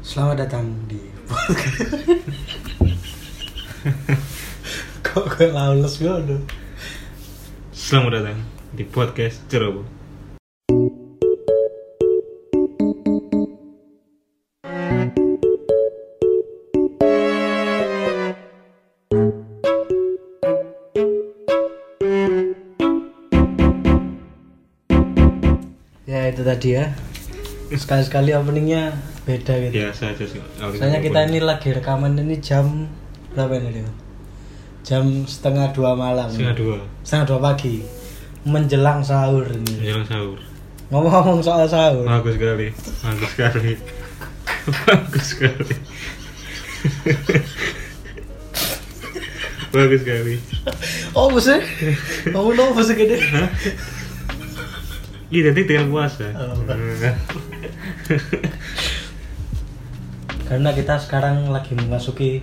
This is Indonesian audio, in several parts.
Selamat datang di podcast. Kok gue lawless gue aduh. Selamat datang di podcast Ceroboh. Ya itu tadi ya. Sekali-sekali openingnya beda gitu. Biasa aja sih. kalau Soalnya kita kita Iya, opening. ini lagi rekaman ini jam berapa ini Leo? Jam setengah dua malam. setengah dua Setengah dua pagi. Menjelang sahur ini. menjelang sahur. Ngomong-ngomong soal sahur. Bagus sekali, bagus sekali, bagus sekali, bagus sekali. Oh bosnya? Kamu tau bosnya gede? Iya, nanti tinggal puasa. Hmm. Oh. Karena kita sekarang lagi memasuki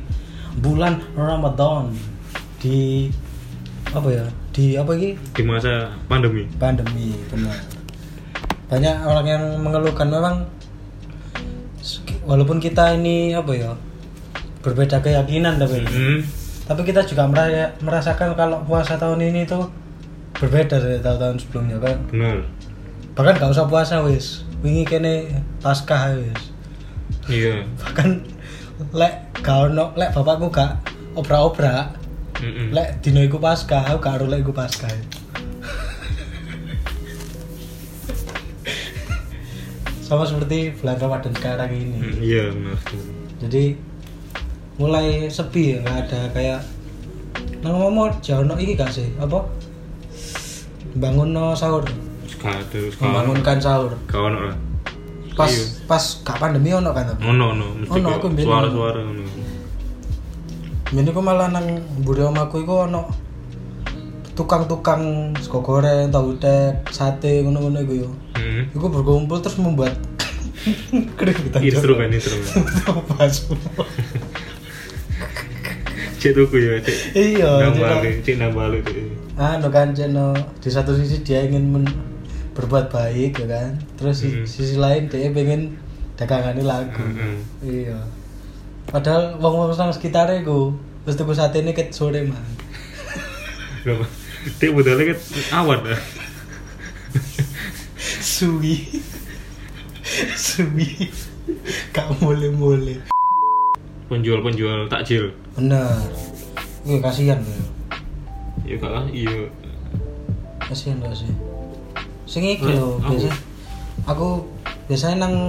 bulan Ramadan di apa ya? Di apa ini? di masa pandemi. Pandemi benar. Banyak orang yang mengeluhkan memang walaupun kita ini apa ya? Berbeda keyakinan tapi Hmm, tapi kita juga meraya- merasakan kalau puasa tahun ini tuh berbeda dari tahun-tahun sebelumnya kan benar. bahkan gak usah puasa wis wingi kene paskah wis Iya. bahkan Kan, lek gak ono lek bapakku gak obrak-obrak Mm-mm. lek dino iku pasca aku gak ero lek iku pasca sama seperti bulan Ramadan sekarang ini Mm, Iya, benar. jadi mulai sepi ya nggak ada kayak nang ngomong jauh no iki gak sih apa bangun no sahur Sekadus. membangunkan sahur Kawan orang. pas Iya. pas gak pandemi ono kan tapi Ono ono mesti Ono, kayak aku mbien suara-suara ono. Jadi aku malah nang mburi omahku iku ono tukang-tukang sego goreng, tahu tek, sate ngono-ngono iku yo. Hmm. Iku berkumpul terus membuat keributan. Instrumen instrumen. Apa semua. Cek tuku ya, cek Iya, jadi- nambah lu, cek nambah lu. cek. anu kan Ceno di satu sisi dia ingin men- berbuat baik ya kan terus di Mm. sisi lain dia pengen dagangannya lagu Mm-mm. iya padahal wong wong nang sekitarnya gue terus tuku sate ini ket sore mah Lho, Cek budalnya kan awan lah. suwi suwi gak boleh boleh Penjual-penjual takjil. bener gue kasihan gue Ya kak lah, iya. kasihan gak sih sing iki Eh, lho aku- biasa aku biasanya nang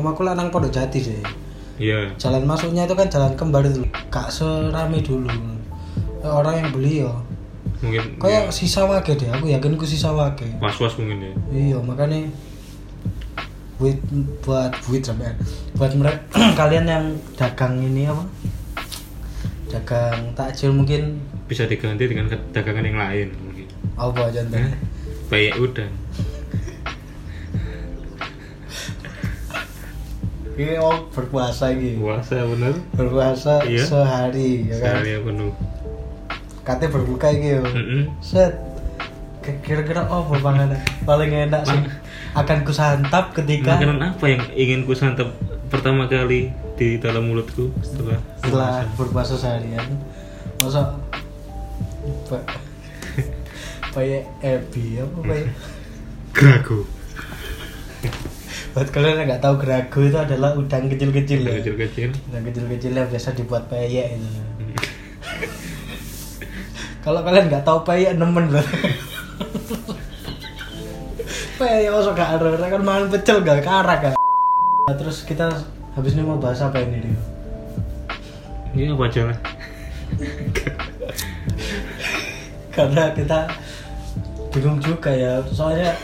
omaku lah nang pondok jati sih Iya. jalan masuknya itu kan jalan kembar itu gak serame dulu orang yang beli yo Mungkin ya, kayak sisa wage deh aku yakin ku sisa wage was-was mungkin ya. iya makanya buat buat buat sampean buat mereka kalian yang dagang ini apa dagang takjil mungkin Bisa diganti dengan ke- dagangan yang lain mungkin. apa contohnya Kayak udang. ini oh berpuasa gitu Puasa bener. berpuasa Iya. sehari ya kan Sehari penuh. katanya berbuka gitu Mm-mm. Set. K- Kira-kira apa panganan paling enak sih akan kusantap ketika Makanan apa yang ingin ku santap pertama kali di dalam mulutku setelah setelah berpuasa seharian. Masa Pak Paye Ebi apa paye? Grago. Buat kalian yang nggak tahu gerago itu adalah udang kecil-kecil ya. Kecil-kecil. Udang kecil-kecil yang biasa dibuat peyek itu. Kalau kalian nggak tahu peyek nemen berarti. peyek masuk gak ada, orang kan makan pecel gak karak kan. Nah, Terus kita habis ini mau bahas apa ini Rio? Iya apa aja lah. Karena kita bingung juga ya, soalnya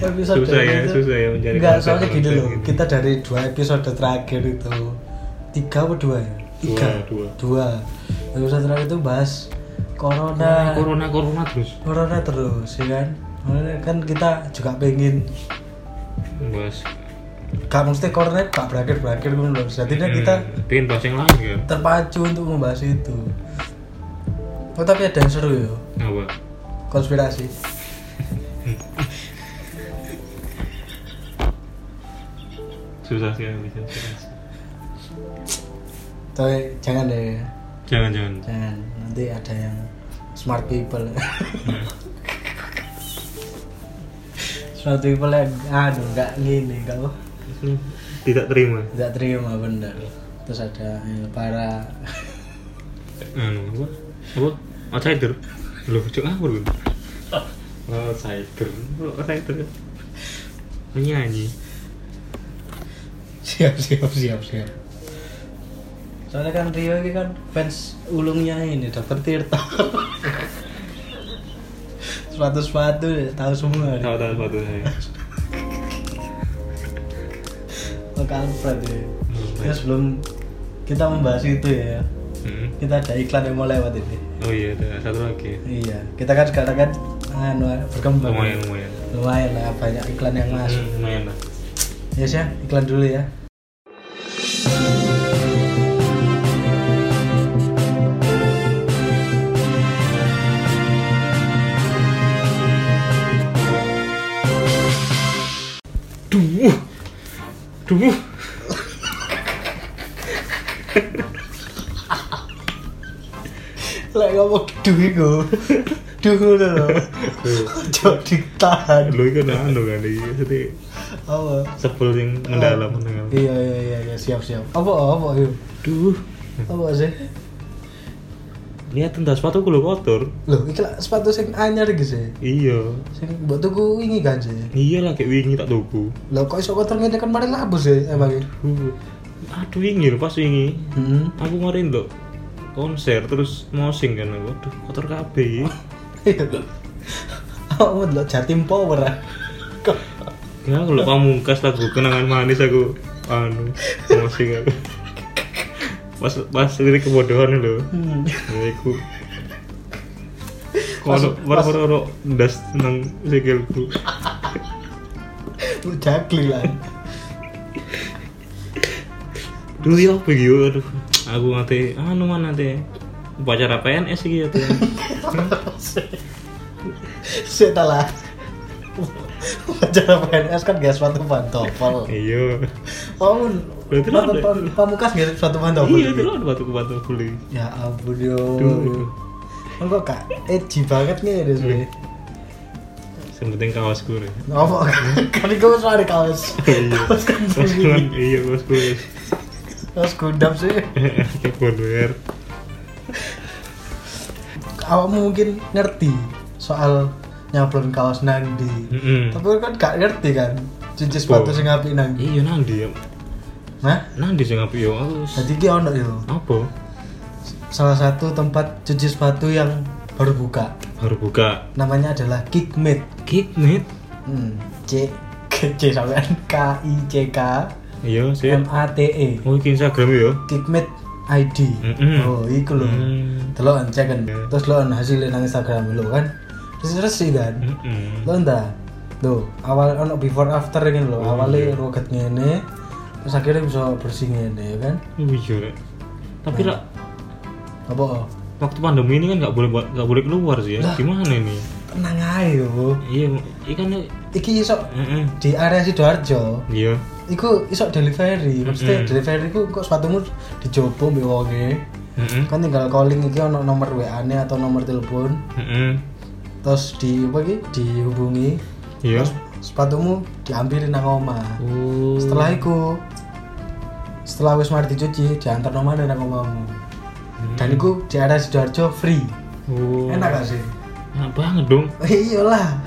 episode Susah ya, itu- susah ya mencari gitu. Enggak, konten- soalnya gini konten loh, gini. kita dari dua episode terakhir itu tiga atau dua ya? Tiga, Dua, dua. Episode terakhir itu bahas corona, Corona corona terus. corona terus, ya kan? Makanya kan kita juga pengen Bahas. gak mesti corona gak berakhir berakhir gitu loh. Sejatinya Hmm, kita pengen bahas yang lain kan. terpacu untuk membahas itu. Oh tapi ada yang seru ya, Apa? konspirasi. susah sekali susah sekali. Tapi jangan deh, jangan jangan jangan. Nanti ada yang smart people. Nah, smart people yang aduh nggak gini, nggak apa. itu tidak terima Nggak terima bener. Terus ada eh, para anu apa apa outsider loh cok ngawur gitu outsider Loh, outsider menyanyi siap siap siap siap. Soalnya kan Rio ini kan fans ulungnya ini Dokter Tirta. Sepatu-sepatu tahu semua. tahu tahu sepatu saya Pak Alfred ya. Hmm, Ya baik. sebelum kita membahas itu ya, Hmm. kita ada iklan yang mau lewat ini. oh iya ada satu lagi Iya, kita kan sekarang kan anu, berkembang. lumayan lumayan Lumayan lah banyak iklan yang masuk. Hmm, lumayan lah Hmm. Ya sih, iklan dulu ya. duh duh Lek ngomong duh iku. Duh ngono lho. Ojo ditahan. lu itu udah anu kan ini jadi Apa? sebel yang mendalam mendalam Iya iya iya iya siap siap. Apa apa yuk? duh Apa sih? lihat entah sepatu lu kotor Loh, iki lah sepatu sing anyar iki sih. iya Sing mbok tuku ini kan sih. iya lah kayak wingi tak tuku Loh kok iso kotor ngene kan mari labus sih emangnya. Duh. aduh wingi lho, pas wingi Hmm. aku ngorin lho konser terus mosing kan aku aduh kotor kabeh Iya tuh. Oh, lo jatim power ah. Kok ya aku lho pamungkas lagu kenangan manis aku anu mosing aku pas pas lirik kebodohan lho Hmm. ya iku kalau baru-baru ndas nang sikilku lu jagli lah. dulu ya apa gitu aduh aku nanti anu mana nanti upacara PNS gitu Saya lah. Wajar PNS kan gak sepatu pantofel. iya Oh, Berarti lu sepatu ada- pam- pamukas gak sepatu pantofel. iya itu loh batu batu kulit Ya ampun yo. Duh. Kan kok kak edgy banget nih ada Iya. sih. yang penting kawas gue nih Ngomong kan gue suara kaos. iya Kaos kan kawas gue sendiri. iya kawas gue Kaos gundam sih. kayak bonwer Awakmu mungkin ngerti soal nyablon kaos nang di. Hmm. Tapi kan gak ngerti kan Cincin sepatu Apa? sing apik nang ndi. iya nanti ya Nah, nanti sih ngapain ya aku s- jadi iki ono yo. apa Salah satu tempat cuci sepatu yang baru buka. baru buka Namanya adalah Kickmate. kickmate Hmm, C K C sampean K I C K iya sih M A T E. oh ini instagram ya Kickmate ID. Mm-mm. Oh, iku lho. Hmm. Delok cek kan. Yeah. Terus lo hasilnya nang Instagram lo kan. Terus resik kan. Mm. Mm-mm. lo entah tuh awal ono before after ini lo Oh, awalnya iya. ruget ngene terus akhirnya bisa bersih ngene ya kan oh iya Rek. tapi lah apa oh? waktu pandemi ini kan nggak boleh buat- nggak boleh keluar sih ya Lah. gimana ini tenang aja yo iya ikan iki iso Heeh. di area sidoarjo iya iku iso delivery maksudnya Mm-mm. delivery ku kok sepatumu dicoba mbek wonge Heeh. kan tinggal calling iki ono nomor WA ne atau nomor telepon Heeh. terus di apa iki dihubungi iya terus sepatumu diambilin nang omah oh setelah iku setelah wis mari dicuci diantar nomor nang omahmu dan iku di area sidoarjo free Mm. oh enak kan? gak sih enak banget dong Oh, iyalah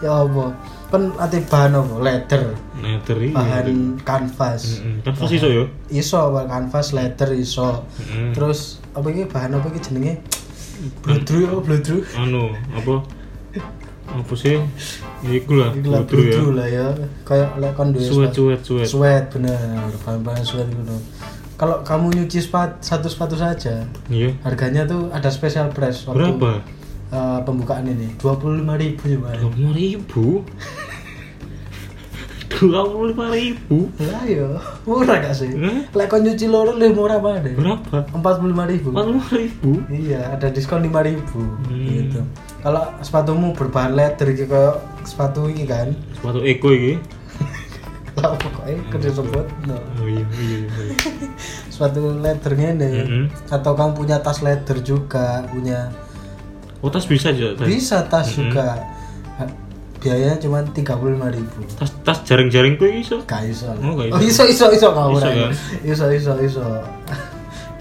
ya apa kan ate bahan apa leather Netter iya. bahan kanvas Mm-mm. Kan pasti iso ya. iso bahan kanvas leather iso Mm-mm. terus apa ini bahan apa ini jenenge bludru apa bludru Anu, apa? Apa sih? Ya iku lah, Iku lah bludru ya. bludru lah ya kayak lek kon duwe Suet sepatu- suet suet. Sweat bener, bahan-bahan sweat gitu. Kalau kamu nyuci sepat, satu sepatu saja, Iya. harganya tuh ada special price waktu Berapa? eh, pembukaan ini. 25.000 ribu ya, Pak. 25.000. 25.000. Lah ya, murah gak sih? Hmm? Lek kau nyuci loro lebih murah banget deh. Berapa? 45 ribu. 45.000. Iya, ada diskon 5 ribu Hmm. gitu. Kalau sepatumu berbahan leather gitu kayak sepatu ini kan, Sepatu Eko iki. tau pokoknya kudu sebut Nah, no. Oh iya iya iya. suatu leathernya deh Mm-mm. atau kamu punya tas leather juga punya Oh tas bisa juga tas. bisa tas Mm-mm. juga Ha- biayanya cuma tiga puluh lima ribu Tas tas jaring-jaring ku iso. gak iso Oh, gak iso. oh, iso iso iso gak Iso, ora. kan? iso iso iso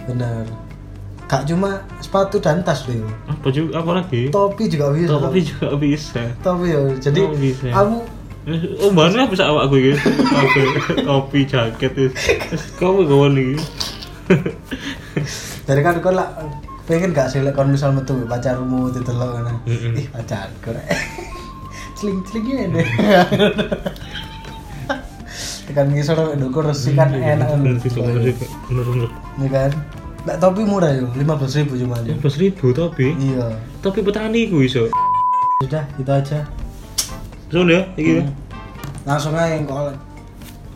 bener gak cuma sepatu dan tas deh Apa juga apa lagi? topi juga bisa Topi juga bisa. topi ya jadi Oh, bisa. kamu Oh, mana bisa awak aku gitu. Topi, topi jaket itu. Terus kamu kawan nih. dari kan kau lah pengen gak sih kalau misal metu pacarmu itu telok kan Mm-mm. ih pacar kau celing celingnya deh tekan ngisor dong kau resi kan enak Nanti soalnya juga menurun ini kan Nah, topi murah yo, lima belas ribu cuma aja. Lima Ya, ribu topi. Iya, Topi petani ku iso. sudah itu aja. Soalnya ya, iki. ya. Langsung aja yang call,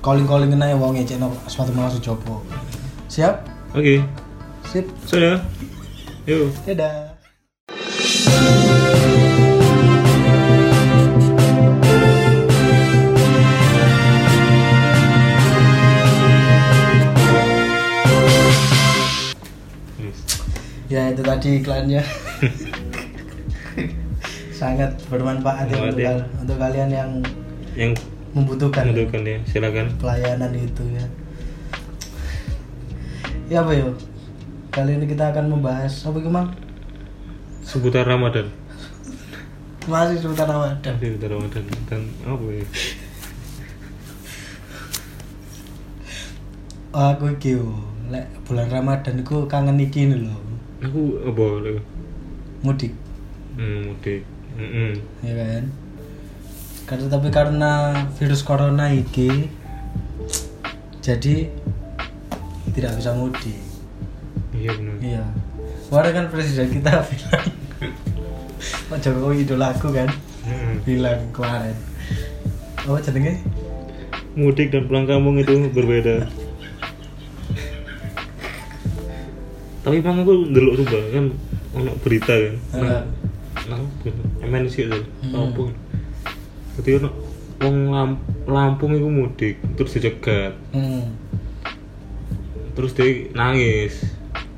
calling calling kena yang wong ngecek no sepatu langsung coba. Siap, Oke. sip, Soalnya. Yuk. dadah. Ya itu tadi iklannya. Sangat bermanfaat ya untuk, Bermanfaat ya. kal- untuk kalian yang Yang membutuhkan menentukan ya, silakan. pelayanan itu ya. Ya apa yo? Kali ini kita akan membahas apa gimana? Seputar Ramadan. Masih seputar Ramadan. Seputar Ramadan dan apa ya? Aku iki yo, lek bulan Ramadan iku kangen iki lho. Aku apa? lho? Mudik, Hmm, mudik. Mm-mm. ya kan? Karena tapi karena virus corona iki jadi tidak bisa mudik. Iya benar. Iya. Kemarin kan presiden kita bilang Pak Jokowi idolaku kan Mm-mm. bilang kemarin apa jenenge Mudik dan pulang kampung itu berbeda. Tapi emang aku ndelok rubah kan ono berita kan. Nah, Heeh. nah, gitu. Emen sih itu. Hmm. Lampung. Jadi ono wong Lam- Lampung itu mudik terus dicegat. hmm. Terus dia nangis.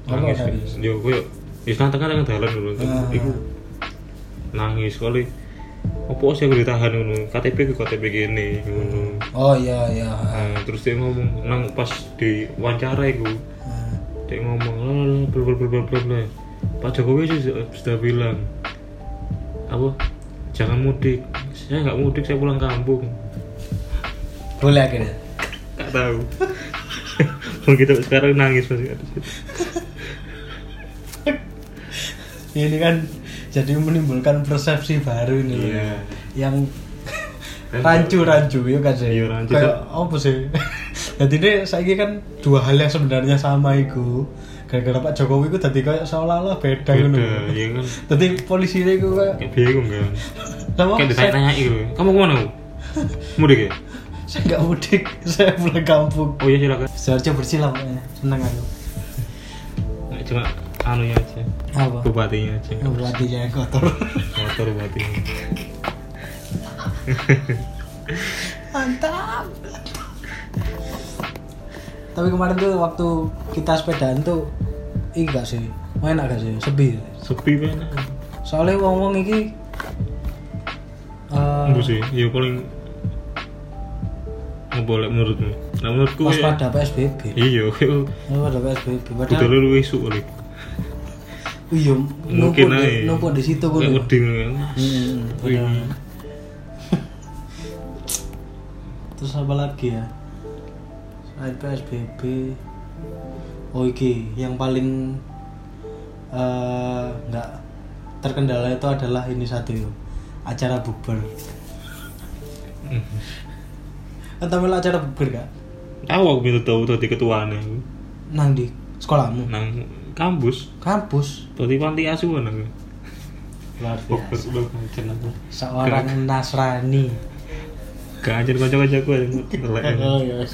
Apa nangis? Yo koyo wis nang tengah tengah dalan ngono. Ah. Iku nangis kali. Apa sih aku ditahan ngono? KTP ku KTP gini ngono. oh iya iya Nah, terus dia ngomong nang pas di wawancara itu Hmm. dia ngomong "Lalalala, bla bla bla bla bla bla." Pak Jokowi sih sudah, sudah bilang apa jangan mudik saya nggak mudik saya pulang kampung boleh akhirnya nggak tahu kalau kita gitu sekarang nangis masih ada ini kan jadi menimbulkan persepsi baru ini loh Iya. yang Kan rancu rancu ya kan sih Iya, rancu. kayak apa sih jadi ini saya kan dua hal yang sebenarnya sama itu gara-gara Pak Jokowi itu tadi kayak seolah-olah beda gitu beda ya kan tadi polisi itu kayak kayak bingung kan sama kayak saya- ditanya-tanya gitu kamu kemana kamu mudik ya saya nggak mudik saya pulang kampung oh iya silakan seharusnya bersih lah pokoknya seneng aku nggak cuma anunya aja apa bupatinya aja berarti yang kotor motor bupatinya mantap tapi kemarin tuh waktu kita sepedaan tuh ini gak sih main gak sih sepi sepi banget soalnya wong wong iki eh, Enggak sih, ya paling nggak boleh menurutmu. Nah menurutku ya, waspada PSBB iya, iya, waspada PSBB udah padahal lu esuk kali. iya Mungkin numpuk di- aja. numpuk di situ Kayak kan udin kan. Hmm, Wih. benar. Terus apa lagi ya? Selain PSBB, oh iki yang paling eh, nggak terkendala itu adalah ini satu yo, acara bukber. Hmm. Mhm. Entah melu Kan acara bukber gak? Tahu aku minta tahu tadi ketuaannya Nang di sekolahmu, nang kampus, kampus. tadi panti asuhan aku. Luar Fokus biasa. lu kancen aku. Seorang Nasrani. Kancen kocok-kocok aku yang telek. Oh, iya, iya.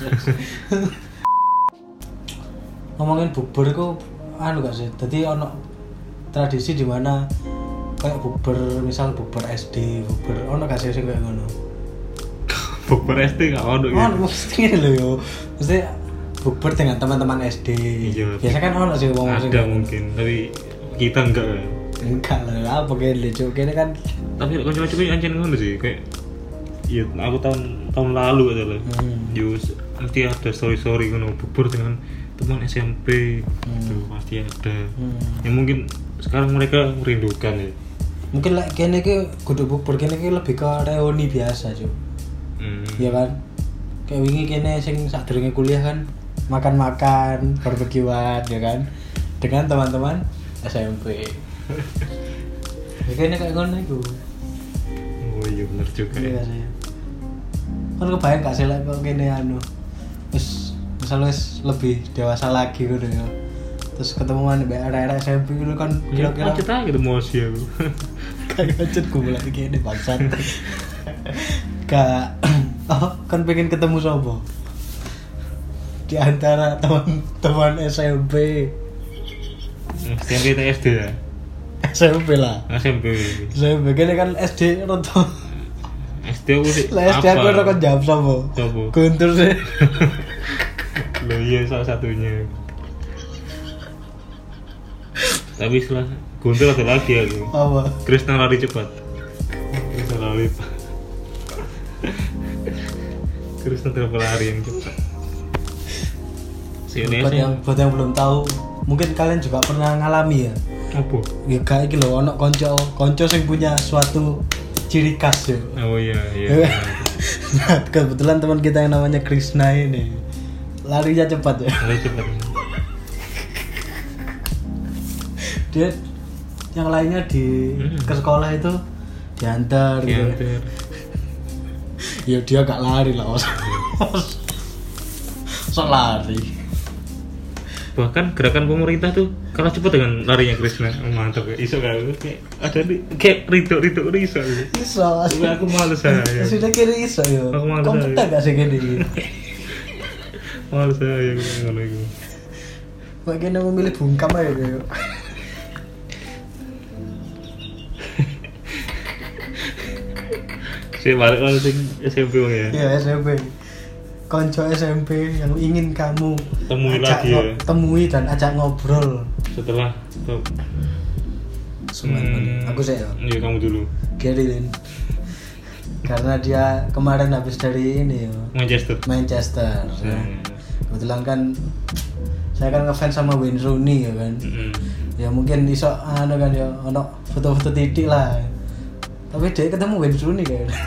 ngomongin bubur itu anu gak sih jadi ono tradisi di mana kayak bubur misal bubur SD bubur ono gak sih sing kayak ngono bukber SD nggak ono Oh, gitu mesti ngene lho yo. Mesti bukber dengan teman-teman SD. Iya. Biasa kan ono sih wong sing- ada mungkin tapi kita enggak ya. Enggak lah, apa kene lucu. Kene kan tapi kocok-kocok ini anjir ngono sih kayak Iya, aku tahun tahun lalu aja lah. Hmm. Yus, nanti Ya ada story story ngono bubur dengan teman SMP, Hmm. itu pasti ada. Hmm. Ya mungkin sekarang mereka merindukan ya. mungkin lah kene ki kudu bukber kene ki lebih ke reuni biasa, Cuk. Hmm. Iya kan? Kayak wingi kene sing sadurunge kuliah kan makan-makan, barbekyuan ya kan dengan teman-teman SMP. Ya kene kayak ngono iku. Oh iya benar juga. Iya Ya. sih. Kan kebayang gak sih lek kok kene anu. Terus misalnya wis lebih dewasa lagi gitu ya. Terus ketemu mana mbak era-era SMP gitu kan Ya, kira-kira macet aja ketemu Osi aku. kagak macet gue mulai kene bangsat. Kak oh, kan pengen ketemu sobo di antara teman-teman SMP SMP atau SD ya? SMP lah SMP. SMP kene kan SD roto SD aku sih. lah SD aku apa? roto jawab sobo Sopo? guntur sih Loh iya salah satunya. Tapi setelah Guntur ada lagi aku. apa Krishna lari cepat. Krishna lari. Krishna terlalu lari yang cepat. Si buat yang Indonesia buat yang belum tahu mungkin kalian juga pernah ngalami ya apa? ya kayak gitu loh ono konco konco yang punya suatu ciri khas ya Oh iya iya. nah, kebetulan teman kita yang namanya Krishna ini larinya cepat ya Lari cepat. dia yang lainnya di Hmm. ke sekolah itu diantar gitu Yang ter. ya dia gak lari lah os so lari Bahkan gerakan pemerintah tuh kalah cepat dengan larinya Krishna. Oh, mantap ya. Iso kan kayak ada di kayak ridho-ridho riso. iso Aku Iya, aku males aja. sudah kiri iso yo Aku ya, malas, kompeten gak sih gini Males aja aku ngono iku. Bagaimana memilih bungkam aja ya. kayak Si balik langsung sing SMP wong ya. Iya SMP Konco SMP yang ingin kamu Temui ajak lagi ngo- ya. Temui dan ajak ngobrol Setelah Sumpah, Hmm, aku ya. saya Iya kamu dulu. Gerilin Karena dia kemarin habis dari ini yo, Manchester. Manchester ya. Hmm. Kebetulan kan Saya kan ngefans sama Wayne Rooney ya kan Mm-mm. Ya mungkin iso anu kan ya Ono foto-foto titik lah Tapi dia ketemu Wayne Rooney kayaknya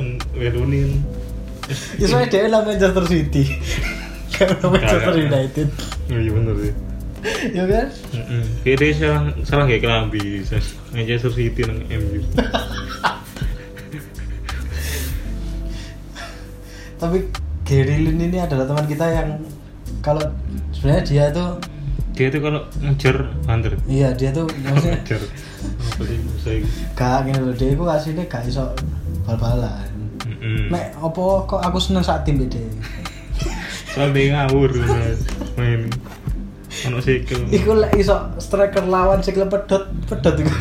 Kan Werunin. Ya soalnya dia lah Manchester City Karena Manchester Kagak. United Oh, Iya bener sih. Ya kan Mm-mm. Kayak dia salah salah kayak Kelambi. Sas. Manchester City nang MU. tapi Gary Lin ini adalah teman kita yang kalau sebenarnya dia tuh Dia tuh kalau ngejar hunter. iya dia tuh maksudnya Ngejar. Apa sih saya? gak gini loh dia itu aslinya gak iso bal-balan Mm-mm. Mek, opo kok aku seneng saat tim BD Soalnya dia ngawur Mas. main. Ono sikil. Iku lek iso striker lawan sikile pedot, pedot iku.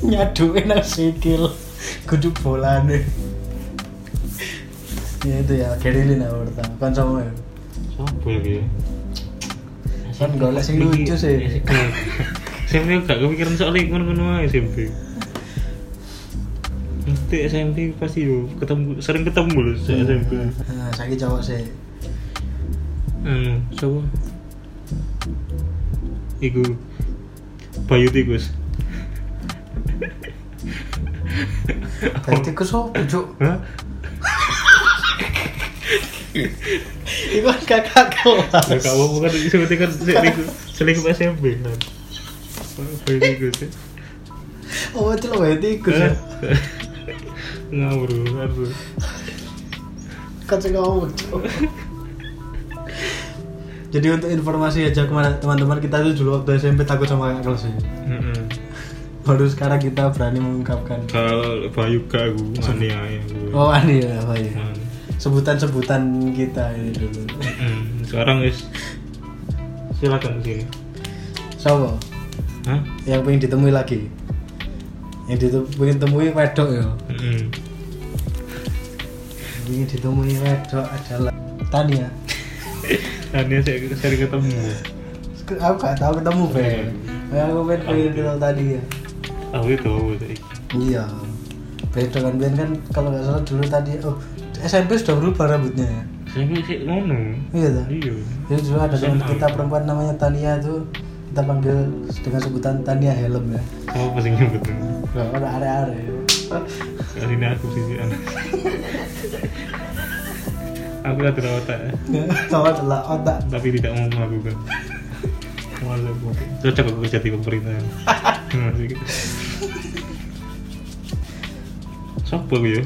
Nyaduin nang sikil. Kudu bolane. ya itu ya, Gary Lin aku pertama. Kan sama ya. Sopo lagi ya? Kan golek sing Iki- lucu sih. ya, sikil. SMP gak kepikiran soalnya ngono-ngono aja SMP. Nanti SMP pasti yo ketemu sering ketemu loh se- SMP. Nah, saiki cowok sih. Anu, siapa? Iku Bayu Tikus. Bayi tikus opo, Cuk? Hah? Iku kan kakak kelas. Nah, kamu bukan seperti kan selingkuh selingkuh SMP kan. Bayu Tikus. ya. Oh, itu lo bayi tikus ya. Hah? Ngawur, ngawur. Kan saya ngomong, Cuk. Jadi untuk informasi aja kemana teman-teman kita itu dulu waktu SMP takut sama kakak kelas ya. Mm-mm. Baru sekarang kita berani mengungkapkan. Kalau Bayu gak aku mania ya aku. Oh, ini ya, apa ya? Man. Sebutan-sebutan kita ini dulu. Mm, Sekarang guys silakan sini. Sopo Hah? yang pengen ditemui lagi. yang ditemui temui wedok ya Mm-mm. yang ditemui wedok adalah Tania Tania saya sering ketemu. aku gak tau ketemu Ben Kayak aku pengen pengen kenal Tania Aku itu aku itu. iya beda kan Ben kan kalau nggak salah dulu tadi oh SMP sudah berubah rambutnya ya Saya sih ngono. iya tuh Iya. jadi dulu ada teman SMA. kita perempuan namanya Tania tuh kita panggil dengan sebutan Tania Helm ya Kamu pasti nyebut Nah, ada are-are Kali ini aku sih anak. aku tak terawat sama adalah otak tapi tidak mau melakukan. Malu aku. Cocok aku kerja di pemerintahan. Masih gitu. Siapa aku ya?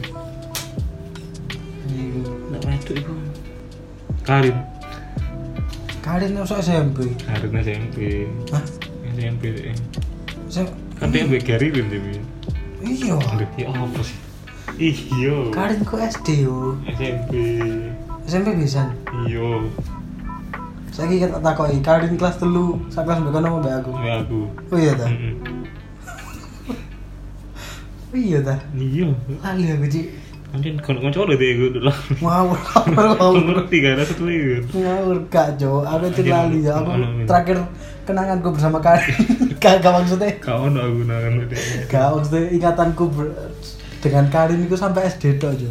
Iya. Nggak masuk itu. Karin. kalian masuk SMP Karin SMP. Hah? SMP deh. Saya- Katanya mbak Gary kan tapi. iya Aduh, ya apa sih? Ih, Iya. kalian kok SD yo SMP. SMP bisa Iya. saya kira tak koi kalian kelas telu saya kelas berapa nama mbak aku Mbak aku. oh iya dah Mm-mm. oh iya dah Iya. lali aku cik Kalian kawan-kawan cowok deh gue dulu. ngawur ngawur Aku ngawur ngerti kan, aku tuh liur. ngawur kak Jo aku itu Iya, lali ya aku iya, iya. terakhir kenanganku bersama Karin gak gak maksudnya Kawan aku nangan deh. gak maksudnya ikatanku ber- dengan Karin itu sampai SD tok Jo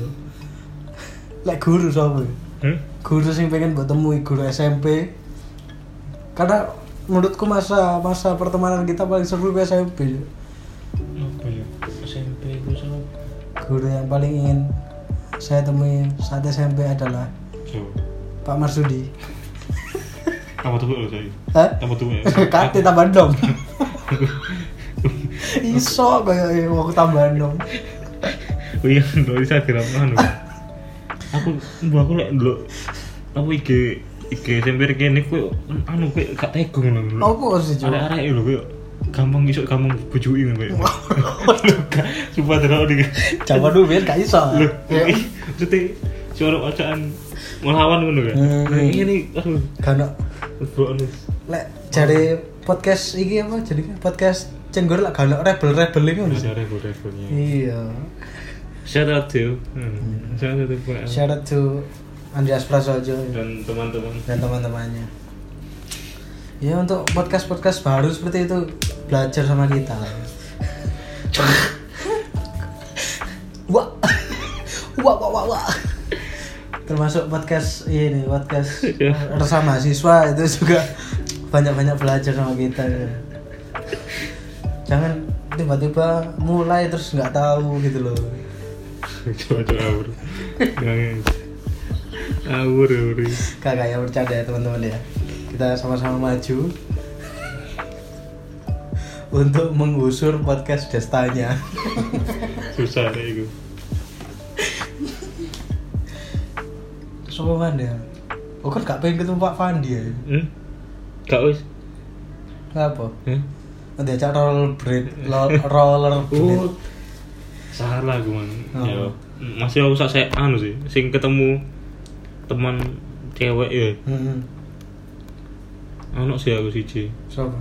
lek guru sama Hmm? guru sing pengen buat temui guru SMP karena menurutku masa masa pertemanan kita paling seru ke SMP Jo. Apa ya? SMP gue sama. guru yang paling ingin saya temui saat SMP adalah Coba. Pak Marsudi Kamu tuh lo saya. Hah? Kamu tuh ya. Kate tambah dom. Iso kayak aku tambah dom. Oh iya, lo bisa diramakan. Aku, mbak aku lek dulu. Aku IG IG SMP kene kok anu kok gak tegung lho. lho. Apa sih coba? arek-arek lho koyo gampang iso gampang bujuki ngono koyo. Sumpah terus nih. Coba dulu biar gak iso. Lho, Kayak, maksudnya suara bacaan melawan ngono kan. Hmm. Nah, ini nih aduh, Karena bro anu. lek jare podcast iki apa jadi podcast cenggur lah kalau rebel rebel ini ngono sih. Ada rebel-rebelnya. Iya. Shout out to. Hmm. Shout out to Pak Al. Iya. Shout out to Andreas Prasojo dan teman-teman. dan teman-temannya. Ya untuk podcast podcast baru seperti itu belajar sama kita. lah. wah, wah, wah, wah, wah. Termasuk podcast ini podcast Ya. resa mahasiswa itu juga banyak-banyak belajar sama kita. Jangan tiba-tiba mulai terus nggak tahu gitu loh. Coba-coba awur. Jangan. Awur, awur. Kagak ya bercanda ya teman-teman ya. Kita sama-sama maju untuk menggusur podcast destanya. Susah deh itu. Sopan ya. Oh kan gak pengen ketemu Pak Fandi ya. Hmm? Kak wis. Kenapa? Hah? Nanti ajak roller blade, lo- roller blade. Oh. Salah gue man. Oh. Ya. Masih aku sak saya anu sih, sing ketemu teman cewek ya. Heeh. Anu sih aku siji. Sopo?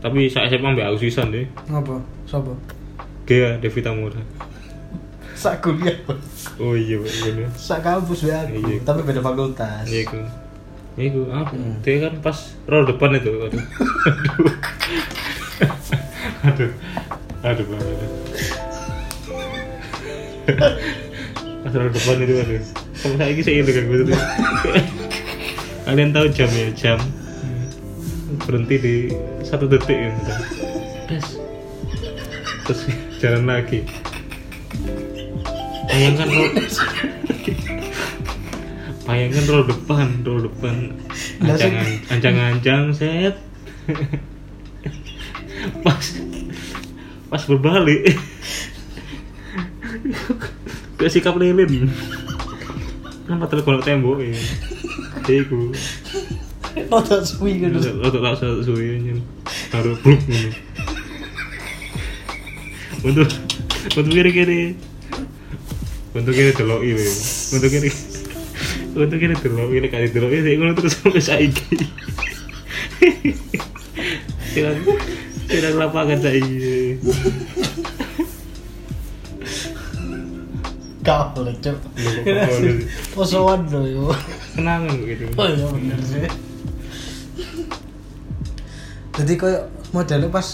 Tapi saya SMA mbak aku sisan deh. Ngapa? Sopo? Gea Devita Mura. Sak kuliah, Bos. Oh iya bener. sak kampus ya Iya. aku, tapi beda fakultas. Iya ku. Iya ku. Apa? Hmm. Dia kan pas roll depan itu. Aduh. Aduh. Aduh. Aduh. Bang, aduh. pas roll depan itu aduh. Kamu saya ini saya ingat kan gitu. Kalian tahu jam ya jam berhenti di satu detik ya. bentar. Terus terus jalan lagi. Bayangkan kalau bayangkan roll depan roll depan Lah, sing- ancang ancang ancang set pas pas berbalik ke sikap lilin kenapa tergolak tembok ya jadi aku Rada suwi gitu. lo tak tak satu suyunya taruh bluk ini untuk untuk kiri kiri untuk kiri telok ini untuk kiri untuk kiri telok ini kali telok ini saya ngono terus sampai saiki tidak tidak lapangan saiki Kau boleh cok. Lu kok kau boleh? Posoan loh yo. kenangan begitu Oh iya bener sih. Jadi koyo modelnya pas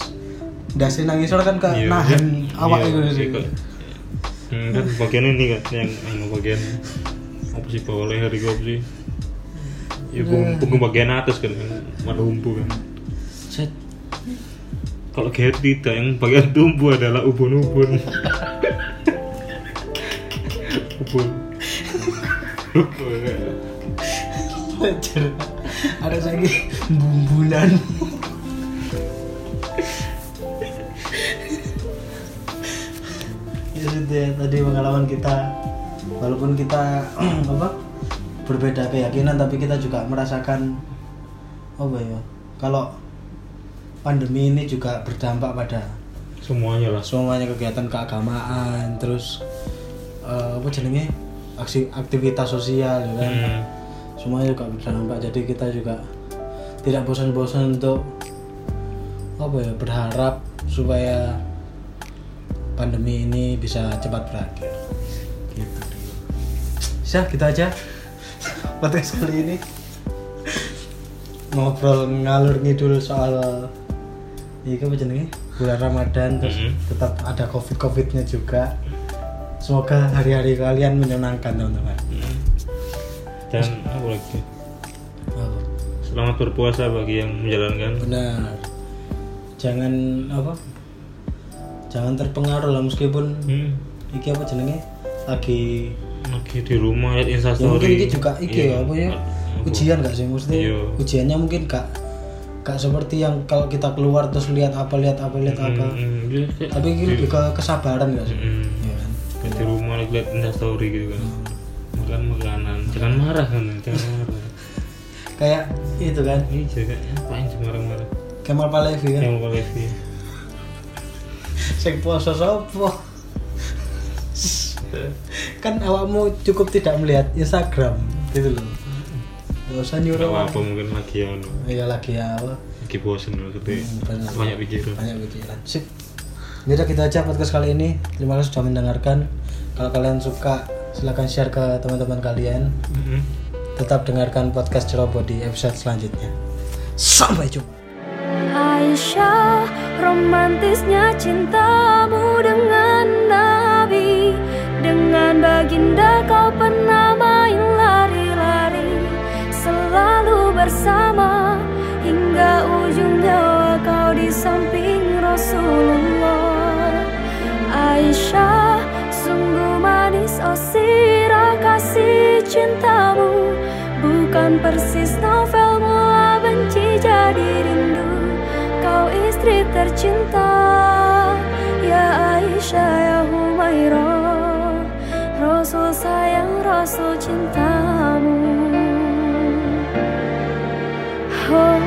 dasi nangis orang kan kayak Iya, nahan iya. awak Iya, itu sih. iya, kok. Hmm, kan bagian ini kan yang yang bagian apa sih bawah leher itu apa sih ya Nah. punggung punggung bagian atas kan yang ada umbu kan Set. kalau Gary tidak yang bagian tumbuh adalah ubun-ubun ubun Cer- Ada lagi bumbunan. ya sudah tadi pengalaman kita walaupun kita apa berbeda keyakinan tapi kita juga merasakan apa ya kalau pandemi ini juga berdampak pada semuanya lah semuanya kegiatan keagamaan terus eh, apa jenenge aksi aktivitas sosial ya kan hmm. semuanya juga berdampak jadi kita juga tidak bosan-bosan untuk apa ya berharap supaya pandemi ini bisa cepat berakhir gitu Syah, gitu aja podcast kali ini ngobrol ngalur ngidul soal ini apa jenenge bulan Ramadan terus Mhm. tetap ada covid covidnya juga semoga hari-hari kalian menyenangkan teman-teman Hmm. dan apa lagi Oh. selamat berpuasa bagi yang menjalankan benar jangan apa jangan terpengaruh lah meskipun hmm. iki apa jenenge lagi lagi di rumah lihat Iya. ya mungkin instastory iki juga iki ya apa ya ujian gak sih maksudnya Iya. ujiannya mungkin gak gak seperti yang kalau kita keluar terus lihat apa lihat apa lihat Hmm, apa tapi tapi ini lebih ke kesabaran gak sih hmm, di ya kan rumah lagi lihat instastory gitu kan makan makanan jangan marah kan jangan marah kayak itu kan ini jaga ngapain sih marah-marah Kemal Palevi kan yang mau koleksi sing poso sopo kan awakmu cukup tidak melihat Instagram gitu loh gak usah nggak nyuruh apa mungkin lagi ya no. iya lagi ya apa lagi bosen loh tapi Hmm, benar. banyak pikiran banyak pikiran sip jadi kita aja podcast kali ini terima kasih sudah mendengarkan kalau kalian suka silahkan share ke teman-teman kalian Hmm. Mm-mm. tetap dengarkan podcast Ceroboh di episode selanjutnya sampai jumpa Aisyah romantisnya cintamu dengan Nabi Dengan baginda kau pernah main lari-lari Selalu bersama hingga ujung nyawa kau di samping Rasulullah Aisyah sungguh manis oh sirah kasih cintamu Bukan persis novel mula benci jadi rindu Kau istri tercinta Ya Aisyah ya Humairah Rasul sayang Rasul cintamu Oh,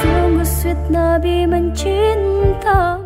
sungguh sweet Nabi mencinta